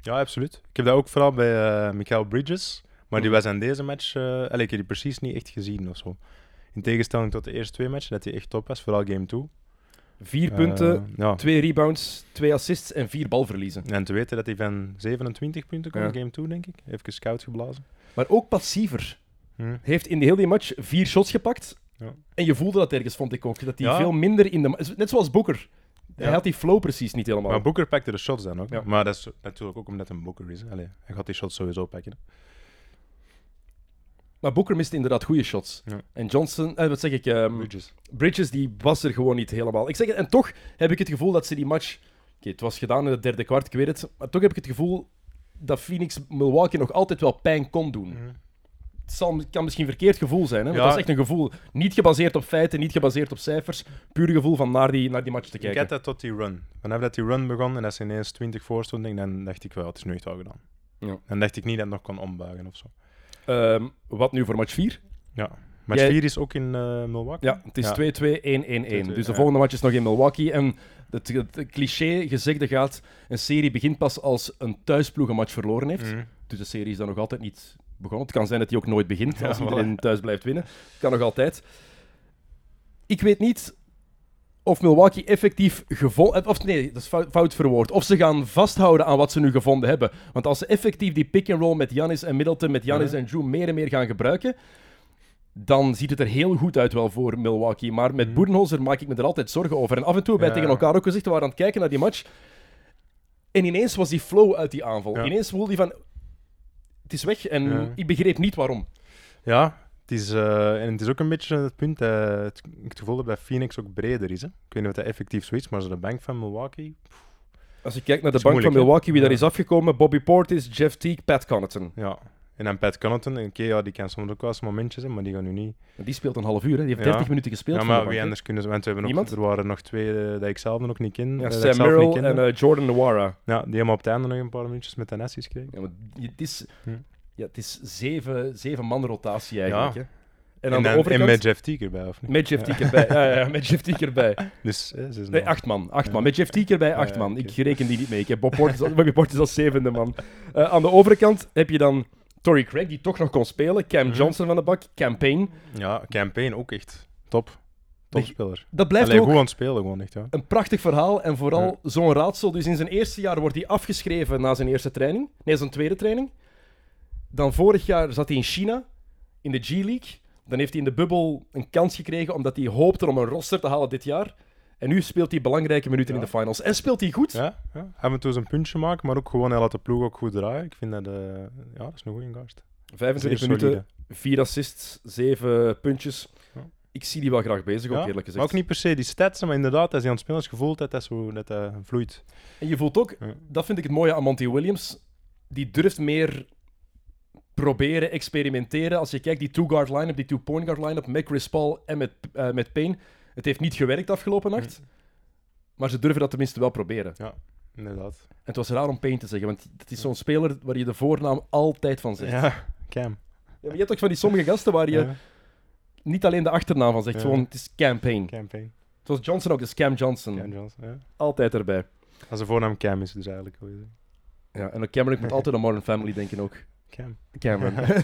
Speaker 3: Ja, absoluut. Ik heb dat ook vooral bij eh, Michael Bridges. Maar
Speaker 2: Mhm.
Speaker 3: die was in deze match... eh allee, ik heb die precies niet echt gezien of zo. In tegenstelling tot de eerste twee matchen, dat hij echt top was. Vooral game 2.
Speaker 2: Vier
Speaker 3: Eh.
Speaker 2: punten,
Speaker 3: ja.
Speaker 2: twee rebounds, twee assists en vier balverliezen.
Speaker 3: En te weten dat hij van 27 punten kwam
Speaker 2: Ja.
Speaker 3: in game 2, denk ik. Even scout geblazen.
Speaker 2: Maar ook passiever.
Speaker 3: Hm.
Speaker 2: Heeft in de hele match vier shots gepakt.
Speaker 3: Ja.
Speaker 2: En je voelde dat ergens, vond ik ook. Dat hij
Speaker 3: Ja.
Speaker 2: veel minder in de... Net zoals Booker. Hij
Speaker 3: Ja.
Speaker 2: had die flow precies niet helemaal.
Speaker 3: Maar Booker pakte de shots dan ook.
Speaker 2: Ja.
Speaker 3: Maar dat is natuurlijk ook omdat hij een Booker is. hè. Allee, hij gaat die shots sowieso pakken. hè.
Speaker 2: Maar Booker miste inderdaad goede shots.
Speaker 3: Ja.
Speaker 2: En Johnson, eh, wat zeg ik, ehm,
Speaker 3: Bridges.
Speaker 2: Bridges, die was er gewoon niet helemaal. Ik zeg het, en toch heb ik het gevoel dat ze die match. Oké, het was gedaan in het derde kwart, ik weet het. Maar toch heb ik het gevoel dat Phoenix Milwaukee nog altijd wel pijn kon doen.
Speaker 3: Mhm.
Speaker 2: Het zal, kan misschien een verkeerd gevoel zijn, hè? want
Speaker 3: Ja.
Speaker 2: dat is echt een gevoel. Niet gebaseerd op feiten, niet gebaseerd op cijfers. Puur gevoel van naar die, naar die match te
Speaker 3: Ik had
Speaker 2: kijken.
Speaker 3: dat tot die run. Vanaf dat die run begon en dat ze ineens 20 voor stonden, dan dacht ik wel, het is nu echt wel gedaan.
Speaker 2: Ja.
Speaker 3: Dan dacht ik niet dat het nog kon ombuigen of zo.
Speaker 2: Ehm, wat nu voor match 4?
Speaker 3: Ja. Match
Speaker 2: Jij-
Speaker 3: 4 is ook in eh, Milwaukee.
Speaker 2: Ja, het is 2-2, 1-1-1.
Speaker 3: 2-2,
Speaker 2: Dus de
Speaker 3: ja.
Speaker 2: volgende match is nog in Milwaukee. En het, het cliché gezegde gaat, een serie begint pas als een thuisploeg een match verloren heeft.
Speaker 3: Mhm.
Speaker 2: Dus de serie is dan nog altijd niet begonnen. Het kan zijn dat die ook nooit begint als
Speaker 3: Ja,
Speaker 2: iedereen thuis blijft winnen. Kan nog altijd. Ik weet niet of Milwaukee effectief gevonden... Of nee, dat is fout, fout verwoord. Of ze gaan vasthouden aan wat ze nu gevonden hebben. Want als ze effectief die pick-and-roll met Janis en Middleton, met Janis
Speaker 3: Ja.
Speaker 2: en Drew meer en meer gaan gebruiken... Dan ziet het er heel goed uit wel voor Milwaukee. Maar met Boedenholzer maak ik me er altijd zorgen over. En af en toe hebben wij
Speaker 3: Ja.
Speaker 2: tegen elkaar ook gezegd, we waren aan het kijken naar die match. En ineens was die flow uit die aanval.
Speaker 3: Ja.
Speaker 2: Ineens voelde hij van, het is weg en
Speaker 3: Ja.
Speaker 2: ik begreep niet waarom.
Speaker 3: Ja, het is, eh, en het is ook een beetje het punt dat het, ik het gevoel heb dat Phoenix ook breder is. Hè? Ik weet niet of dat effectief zo is, maar zo de bank van Milwaukee.
Speaker 2: Als je kijkt naar de
Speaker 3: Dat is
Speaker 2: bank van
Speaker 3: moeilijk, hè?
Speaker 2: Milwaukee, wie daar
Speaker 3: Ja.
Speaker 2: is afgekomen, Bobby Portis, Jeff Teague, Pat Connaughton.
Speaker 3: Ja. En dan Pat Connaughton. Oké, ja, die kan soms ook wel eens momentjes hebben, maar die gaan nu niet.
Speaker 2: Die speelt een half uur, hè. die heeft
Speaker 3: Ja.
Speaker 2: 30 minuten gespeeld.
Speaker 3: Ja,
Speaker 2: van de
Speaker 3: maar wie
Speaker 2: bank,
Speaker 3: anders kunnen ze? Want we hebben
Speaker 2: Niemand?
Speaker 3: ook, er waren nog twee eh, dat ik zelf nog niet ken.
Speaker 2: hè.
Speaker 3: eh,
Speaker 2: Ja,
Speaker 3: dat ik
Speaker 2: Sam
Speaker 3: zelf niet
Speaker 2: Merrill
Speaker 3: kende.
Speaker 2: en eh, Jordan Nwara.
Speaker 3: Ja, die hebben op het einde nog een paar minuutjes met de Nessies gekregen.
Speaker 2: Ja, maar die- het is,
Speaker 3: Hm.
Speaker 2: ja, het is zeven, zeven man rotatie eigenlijk.
Speaker 3: Ja.
Speaker 2: Hè. En
Speaker 3: En,
Speaker 2: aan
Speaker 3: dan-
Speaker 2: de overkant...
Speaker 3: en met Jeff Teague erbij, of niet?
Speaker 2: met Jeff Teague erbij. Ja, ja, ja, met Jeff Teague erbij.
Speaker 3: Dus, eh, ze is
Speaker 2: Nee,
Speaker 3: nog-
Speaker 2: acht man. Acht
Speaker 3: Ja.
Speaker 2: man. Met Jeff Teague erbij,
Speaker 3: Ja,
Speaker 2: acht
Speaker 3: ja,
Speaker 2: man.
Speaker 3: oké.
Speaker 2: Ik reken die niet mee. Ik heb Bob Portis als, Bobby Portis als zevende man. Eh, aan de overkant heb je dan Torrey Craig, die toch nog kon spelen. Cam
Speaker 3: Mhm.
Speaker 2: Johnson van de bak. Campaign.
Speaker 3: Ja, campaign ook echt top. Topspeler.
Speaker 2: Dat blijft
Speaker 3: Alleen
Speaker 2: ook
Speaker 3: goed aan het spelen gewoon echt, ja.
Speaker 2: een prachtig verhaal. En vooral zo'n raadsel. Dus in zijn eerste jaar wordt hij afgeschreven na zijn eerste training. Nee, zijn tweede training. Dan vorig jaar zat hij in China, in de G-League. Dan heeft hij in de bubbel een kans gekregen omdat hij hoopte om een roster te halen dit jaar. En nu speelt hij belangrijke minuten
Speaker 3: Ja.
Speaker 2: in de finals. En speelt hij goed.
Speaker 3: Ja, ja. Af en toe eens een puntje maken, maar ook gewoon hij laat de ploeg ook goed draaien. Ik vind dat, eh, ja, dat is een goede gast.
Speaker 2: 25
Speaker 3: Zeer
Speaker 2: minuten,
Speaker 3: solide.
Speaker 2: Vier assists, zeven puntjes.
Speaker 3: Ja.
Speaker 2: Ik zie die wel graag bezig, ook
Speaker 3: Ja,
Speaker 2: eerlijk gezegd.
Speaker 3: Maar ook niet per se die stats, maar inderdaad, als hij aan het spelen is, gevoeld dat dat, zo, dat dat vloeit.
Speaker 2: En je voelt ook,
Speaker 3: Ja.
Speaker 2: dat vind ik het mooie aan Monty Williams, die durft meer proberen, experimenteren. Als je kijkt, die two-guard line-up, die two-point guard line-up, met Chris Paul en met, eh, met Payne. Het heeft niet gewerkt afgelopen nacht, maar ze durven dat tenminste wel proberen.
Speaker 3: Inderdaad.
Speaker 2: En het was raar om Payne te zeggen, want het is zo'n speler waar je de voornaam altijd van zegt.
Speaker 3: Ja, Cam.
Speaker 2: Ja, maar je hebt ook van die sommige gasten waar je...
Speaker 3: Ja.
Speaker 2: niet alleen de achternaam van zegt,
Speaker 3: Ja.
Speaker 2: gewoon het is campaign.
Speaker 3: Campaign.
Speaker 2: Zoals Johnson ook, dus Cam Johnson.
Speaker 3: Cam Johnson, ja.
Speaker 2: Altijd erbij.
Speaker 3: Als de voornaam Cam is, dus eigenlijk. wil je zeggen.
Speaker 2: Ja, en ook Cameron, ik moet altijd aan Modern Family denken ook.
Speaker 3: Cam.
Speaker 2: Cameron.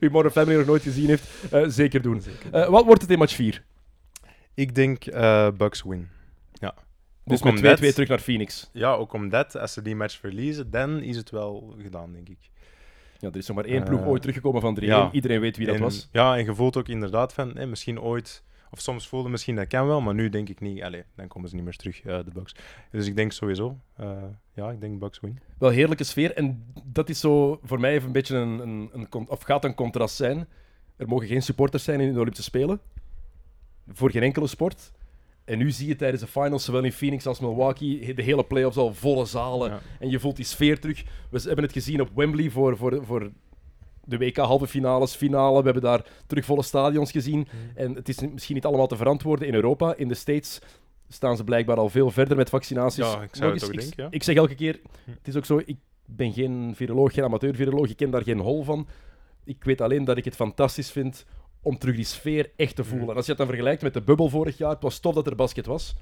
Speaker 2: Wie Modern Family nog nooit gezien heeft, eh, zeker doen. Eh, wat wordt het in match 4?
Speaker 3: Ik denk eh, Bucks win.
Speaker 2: Dus
Speaker 3: Ook
Speaker 2: met 2-2
Speaker 3: omdat-
Speaker 2: terug naar Phoenix.
Speaker 3: Ja, ook omdat, als ze die match verliezen, dan is het wel gedaan, denk ik.
Speaker 2: Ja, er is nog maar één ploeg
Speaker 3: Eh,
Speaker 2: ooit teruggekomen van 3-1.
Speaker 3: ja.
Speaker 2: Iedereen weet wie dat
Speaker 3: En-
Speaker 2: was.
Speaker 3: Ja, en je voelt ook inderdaad van, hè, misschien ooit, of soms voelde misschien dat kan wel, maar nu denk ik niet. Allee, dan komen ze niet meer terug, eh, de Bucks. Dus ik denk sowieso, eh, ja, ik denk Bucks win.
Speaker 2: Wel heerlijke sfeer. En dat is zo voor mij even een beetje een, een, een con- of gaat een contrast zijn. Er mogen geen supporters zijn in de Olympische Spelen. Voor geen enkele sport. En nu zie je tijdens de finals, zowel in Phoenix als Milwaukee, de hele playoffs al volle zalen.
Speaker 3: Ja.
Speaker 2: En je voelt die sfeer terug. We hebben het gezien op Wembley voor, voor, voor de WK halve finales, finale. We hebben daar terug volle stadions gezien.
Speaker 3: Mhm.
Speaker 2: En het is misschien niet allemaal te verantwoorden in Europa. In de States staan ze blijkbaar al veel verder met vaccinaties.
Speaker 3: Ja, ik zou het
Speaker 2: Nog eens,
Speaker 3: ook
Speaker 2: ik,
Speaker 3: denken, ja. Hm.
Speaker 2: ik zeg elke keer, het is ook zo, ik ben geen viroloog, geen amateur-viroloog. Ik ken daar geen hol van. Ik weet alleen dat ik het fantastisch vind om terug die sfeer echt
Speaker 3: Mm.
Speaker 2: te voelen. En als je dat dan vergelijkt met de bubbel vorig jaar, het was tof dat er basket was.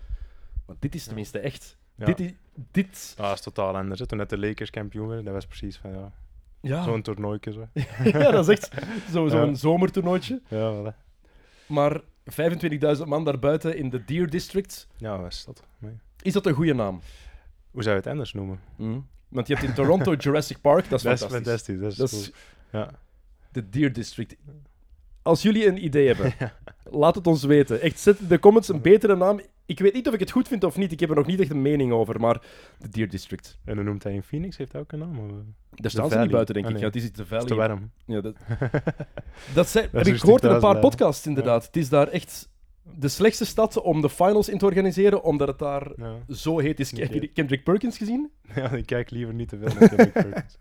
Speaker 2: Maar dit is tenminste echt.
Speaker 3: Ja.
Speaker 2: Dit is... Dit...
Speaker 3: Ja, dat is totaal anders. Hè. Toen net de Lakers kampioen werden, dat was precies van, ja,
Speaker 2: Ja.
Speaker 3: zo'n toernooitje. Zo. Ja,
Speaker 2: Ah. Ja, dat is echt zo- zo'n
Speaker 3: Ja.
Speaker 2: zomertoernooitje.
Speaker 3: voilà.
Speaker 2: Maar 25.000 man daarbuiten in de Deer District,
Speaker 3: Ja, wat is dat? Nee.
Speaker 2: is dat een goede naam?
Speaker 3: Hoe zou je het anders noemen?
Speaker 2: Want je hebt in Toronto Jurassic Park, dat is
Speaker 3: Dat is
Speaker 2: fantastisch.
Speaker 3: fantastisch. Dat is,
Speaker 2: Dat is
Speaker 3: cool. ja.
Speaker 2: de Deer District. Als jullie een idee hebben, laat het ons weten. Echt, zet in de comments een betere naam. Ik weet niet of ik het goed vind of niet. Ik heb er nog niet echt een mening over, maar de Deer District.
Speaker 3: En dan noemt hij in Phoenix, heeft hij ook een naam? Of? Het
Speaker 2: Daar
Speaker 3: De
Speaker 2: staan ze
Speaker 3: Valley.
Speaker 2: niet buiten, denk
Speaker 3: Ah,
Speaker 2: ik.
Speaker 3: nee.
Speaker 2: Ja, het is iets de
Speaker 3: is te
Speaker 2: Valley.
Speaker 3: warm.
Speaker 2: Ja, dat dat zijn,
Speaker 3: Dat is
Speaker 2: heb ik
Speaker 3: een
Speaker 2: gehoord in een paar
Speaker 3: stuk duizend, hè.
Speaker 2: podcasts, inderdaad. Het is daar echt de slechtste stad om de finals in te organiseren, omdat het daar
Speaker 3: Ja.
Speaker 2: zo heet is. Heb je
Speaker 3: Oké.
Speaker 2: die Kendrick Perkins gezien?
Speaker 3: ja, ik kijk liever niet te veel naar Kendrick Perkins.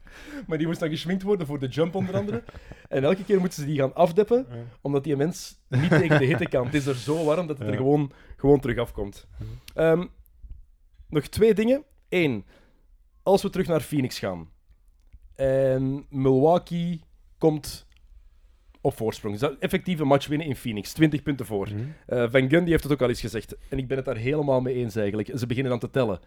Speaker 2: Maar die moest dan geschminkt worden voor de jump, onder andere. en elke keer moeten ze die gaan afdeppen,
Speaker 3: Ja.
Speaker 2: omdat die mens niet tegen de hitte kan. Het is er zo warm dat het er
Speaker 3: Ja.
Speaker 2: gewoon, gewoon terug afkomt. Ehm, nog twee dingen. Eén, als we terug naar Phoenix gaan en Milwaukee komt op voorsprong. Ze zou effectief een match winnen in Phoenix, 20 punten voor.
Speaker 3: Mhm.
Speaker 2: Eh, Van Gundy heeft het ook al eens gezegd. En ik ben het daar helemaal mee eens eigenlijk. Ze beginnen dan te tellen.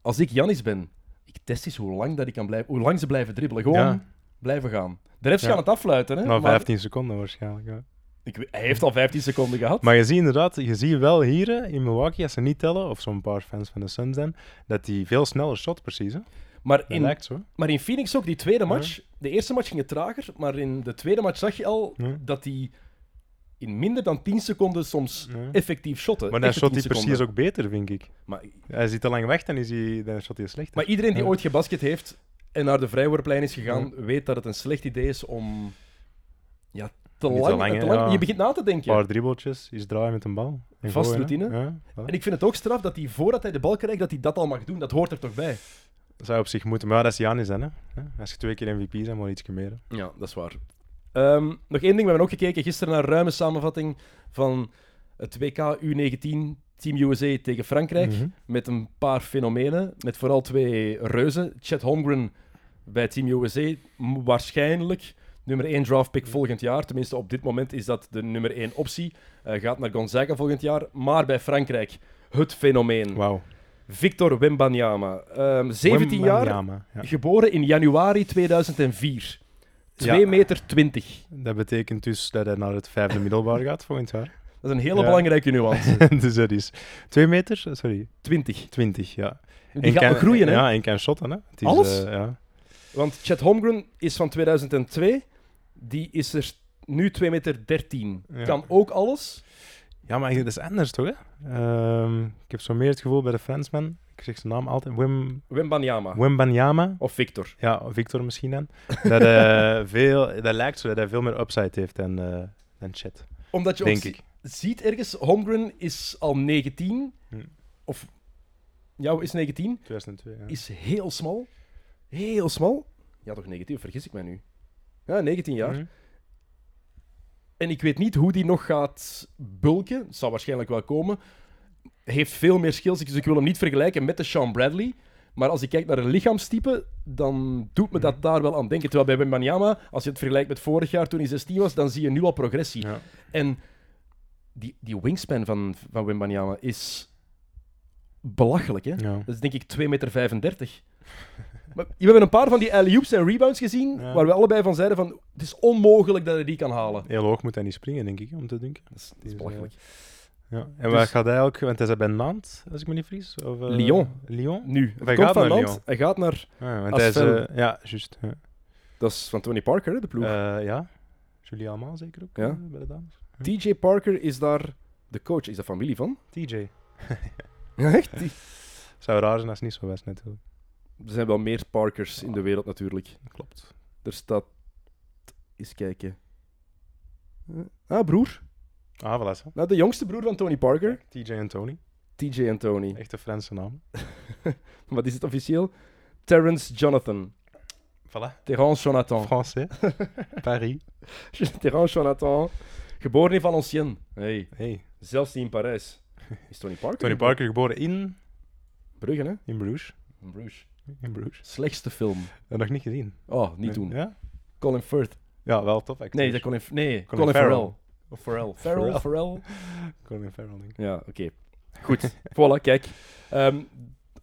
Speaker 2: Als ik Janis ben, ik test eens hoe lang, dat ik kan blijven, hoe lang ze blijven dribbelen. Gewoon
Speaker 3: Ja.
Speaker 2: blijven gaan. De refs
Speaker 3: Ja. Nou,
Speaker 2: gaan het affluiten. Hè?
Speaker 3: Na
Speaker 2: maar
Speaker 3: 15 seconden waarschijnlijk. Ja.
Speaker 2: ik, weet- hij heeft al 15 seconden gehad.
Speaker 3: Maar je ziet inderdaad, je ziet wel hier eh, in Milwaukee, als ze niet tellen, of zo'n paar fans van de Suns dan, dat die veel sneller shot precies. Hè? Dat
Speaker 2: Maar in,
Speaker 3: lijkt zo.
Speaker 2: maar in Phoenix ook, die tweede match. De eerste match ging het trager. Maar in de tweede match zag je al
Speaker 3: Ja.
Speaker 2: dat hij in minder dan 10 seconden soms
Speaker 3: Ja.
Speaker 2: effectief shotte.
Speaker 3: Maar dan
Speaker 2: Echte
Speaker 3: shot
Speaker 2: 10
Speaker 3: hij precies
Speaker 2: seconden.
Speaker 3: ook beter, vind ik.
Speaker 2: Maar
Speaker 3: Hij zit te lang weg, dan, is hij, dan shot hij slechter.
Speaker 2: Maar iedereen die
Speaker 3: Ja.
Speaker 2: ooit gebasket heeft en naar de vrijworplijn is gegaan, weet dat het een slecht idee is om ja, te
Speaker 3: Niet te
Speaker 2: lang... Te
Speaker 3: lang, hè,
Speaker 2: lang-
Speaker 3: ja.
Speaker 2: Je begint na te denken.
Speaker 3: Een paar dribbeltjes, is draaien met een bal. En
Speaker 2: Vast
Speaker 3: gooien, hè.
Speaker 2: routine.
Speaker 3: Ja, voilà.
Speaker 2: En ik vind het ook straf dat hij, voordat hij de bal krijgt, dat hij dat al mag doen. Dat hoort er toch bij?
Speaker 3: Dat zou op zich moeten, maar ja, dat is Janis dan. Hè? Ja, Als je twee keer MVP zijn, maar iets meer. hè.
Speaker 2: Ja, dat is waar. Ehm, nog één ding, we hebben ook gekeken gisteren naar een ruime samenvatting van het WK U19 Team USA tegen Frankrijk.
Speaker 3: Mhm.
Speaker 2: Met een paar fenomenen, met vooral twee reuzen. Chet Holmgren bij Team USA, m- waarschijnlijk nummer 1 draftpick volgend jaar. Tenminste, op dit moment is dat de nummer 1 optie. Eh, gaat naar Gonzaga volgend jaar, maar bij Frankrijk het fenomeen.
Speaker 3: Wauw.
Speaker 2: Victor Wembanyama, Ehm 17 jaar,
Speaker 3: Wembanyama, ja.
Speaker 2: Geboren in januari 2004. 2
Speaker 3: Ja.
Speaker 2: meter 20.
Speaker 3: Dat betekent dus dat hij naar het vijfde middelbaar gaat volgend jaar.
Speaker 2: Dat is een hele
Speaker 3: Ja.
Speaker 2: belangrijke nuance.
Speaker 3: dus dat is twee meter, sorry,
Speaker 2: 20.
Speaker 3: twintig, ja.
Speaker 2: Die gaat nog groeien, hè?
Speaker 3: Ja, en kan shotten, hè. Het is,
Speaker 2: Alles?
Speaker 3: eh, ja.
Speaker 2: Want Chet Holmgren is van 2002. Die is er nu 2 meter 13.
Speaker 3: Ja.
Speaker 2: Kan ook alles.
Speaker 3: ja, maar dat is anders, toch, hè? Ehm, ik heb zo meer het gevoel bij de Fransman, ik zeg zijn naam altijd, Wim,
Speaker 2: Wembanyama.
Speaker 3: Wembanyama,
Speaker 2: Of Victor.
Speaker 3: ja, Victor misschien dan, dat, eh, veel, dat lijkt zo dat hij veel meer upside heeft dan, eh dan Chet,
Speaker 2: Omdat je ook
Speaker 3: denk
Speaker 2: zi-
Speaker 3: ik.
Speaker 2: ziet ergens, Holmgren is al 19.
Speaker 3: Hm.
Speaker 2: Of, ja, is 19.
Speaker 3: 2002, ja.
Speaker 2: Is heel smal. Heel smal. Ja, toch 19, vergis ik mij nu. Ja, 19 jaar.
Speaker 3: Mhm.
Speaker 2: En ik weet niet hoe die nog gaat bulken. Zal waarschijnlijk wel komen. Heeft veel meer skills. Dus ik wil hem niet vergelijken met de Sean Bradley. Maar als ik kijk naar een lichaamstype, dan doet me
Speaker 3: Mhm.
Speaker 2: dat daar wel aan denken. Terwijl bij Wembanyama, als je het vergelijkt met vorig jaar toen hij 16 was, dan zie je nu al progressie.
Speaker 3: Ja.
Speaker 2: En die, die wingspan van, van Wembanyama is belachelijk. Hè?
Speaker 3: Ja.
Speaker 2: Dat is denk ik 2,35 meter. Maar we hebben een paar van die alley-oops en rebounds gezien,
Speaker 3: Ja.
Speaker 2: waar we allebei van zeiden van, het is onmogelijk dat hij die kan halen.
Speaker 3: Heel hoog moet hij niet springen, denk ik, om te denken.
Speaker 2: Dat is, dat is
Speaker 3: Dus, eh,
Speaker 2: belachelijk. Dus-
Speaker 3: Ja. En waar gaat hij ook? Want hij zat bij Nantes, als ik me niet vries. Of, eh,
Speaker 2: Lyon.
Speaker 3: Lyon?
Speaker 2: Nu, het
Speaker 3: Hij
Speaker 2: komt
Speaker 3: gaat
Speaker 2: van
Speaker 3: naar
Speaker 2: land,
Speaker 3: Lyon.
Speaker 2: hij gaat naar...
Speaker 3: Ja, want
Speaker 2: Als
Speaker 3: hij is,
Speaker 2: fan.
Speaker 3: eh, ja, juist. Ja.
Speaker 2: Dat is van Tony Parker, hè, de ploeg.
Speaker 3: Eh, ja. Julie Alma zeker ook
Speaker 2: Ja.
Speaker 3: eh, bij de dames.
Speaker 2: TJ Parker is daar de coach, is dat familie van?
Speaker 3: TJ.
Speaker 2: Echt? Die-
Speaker 3: Zou raar zijn als het niet zo was, natuurlijk.
Speaker 2: Er zijn wel meer Parkers in de wereld natuurlijk.
Speaker 3: Klopt.
Speaker 2: Er staat... Eens kijken. Ah, broer.
Speaker 3: Ah, voilà. zo.
Speaker 2: Nou, de jongste broer van Tony Parker.
Speaker 3: TJ en Tony.
Speaker 2: TJ en Tony.
Speaker 3: Echte Franse naam.
Speaker 2: Wat is het officieel? Terrence Jonathan.
Speaker 3: Voilà.
Speaker 2: Terrence Jonathan.
Speaker 3: Frans, hè? Paris.
Speaker 2: Terrence Jonathan. Geboren in Valenciennes. Hey.
Speaker 3: Hey.
Speaker 2: Zelfs niet in Parijs. Is Tony Parker?
Speaker 3: Tony Parker geboren in...
Speaker 2: Brugge, hè?
Speaker 3: In Bruges.
Speaker 2: In Bruges.
Speaker 3: In Bruges.
Speaker 2: Slechtste film.
Speaker 3: Dat nog niet gezien.
Speaker 2: Oh, niet
Speaker 3: Nee.
Speaker 2: doen.
Speaker 3: Ja?
Speaker 2: Colin Firth.
Speaker 3: Ja, wel tof acteur.
Speaker 2: Nee, dat Colin... Nee, Colin,
Speaker 3: Colin Farrell.
Speaker 2: Farrell. Of Farrell. Farrell, Farrell.
Speaker 3: Farrell. Colin Farrell, denk ik.
Speaker 2: Ja, oké. Goed. voilà, kijk. Ehm,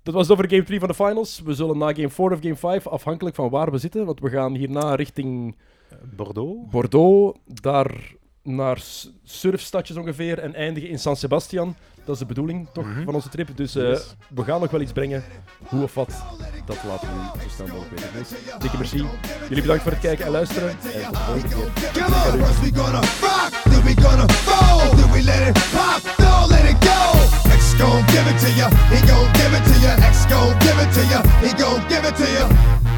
Speaker 2: dat was het over game 3 van de finals. We zullen na game 4 of game 5, afhankelijk van waar we zitten, want we gaan hierna richting
Speaker 3: Eh, Bordeaux.
Speaker 2: Bordeaux, daar naar s- surfstadjes ongeveer en eindigen in San Sebastian. Dat is de bedoeling toch van onze trip. Dus eh,
Speaker 3: Mhm. Yes.
Speaker 2: we gaan nog wel iets brengen. Hoe of wat, dat laten we u zo snel mogelijk weten. Dus, dikke merci. Jullie bedankt voor het kijken en luisteren. En tot de volgende keer.
Speaker 1: Come on, first we gonna rock, then we gonna fold, then we let it pop, don't let it go. X gon' give it to ya, he gon' give it to ya, X gon' give it to ya, he gon' give it to ya.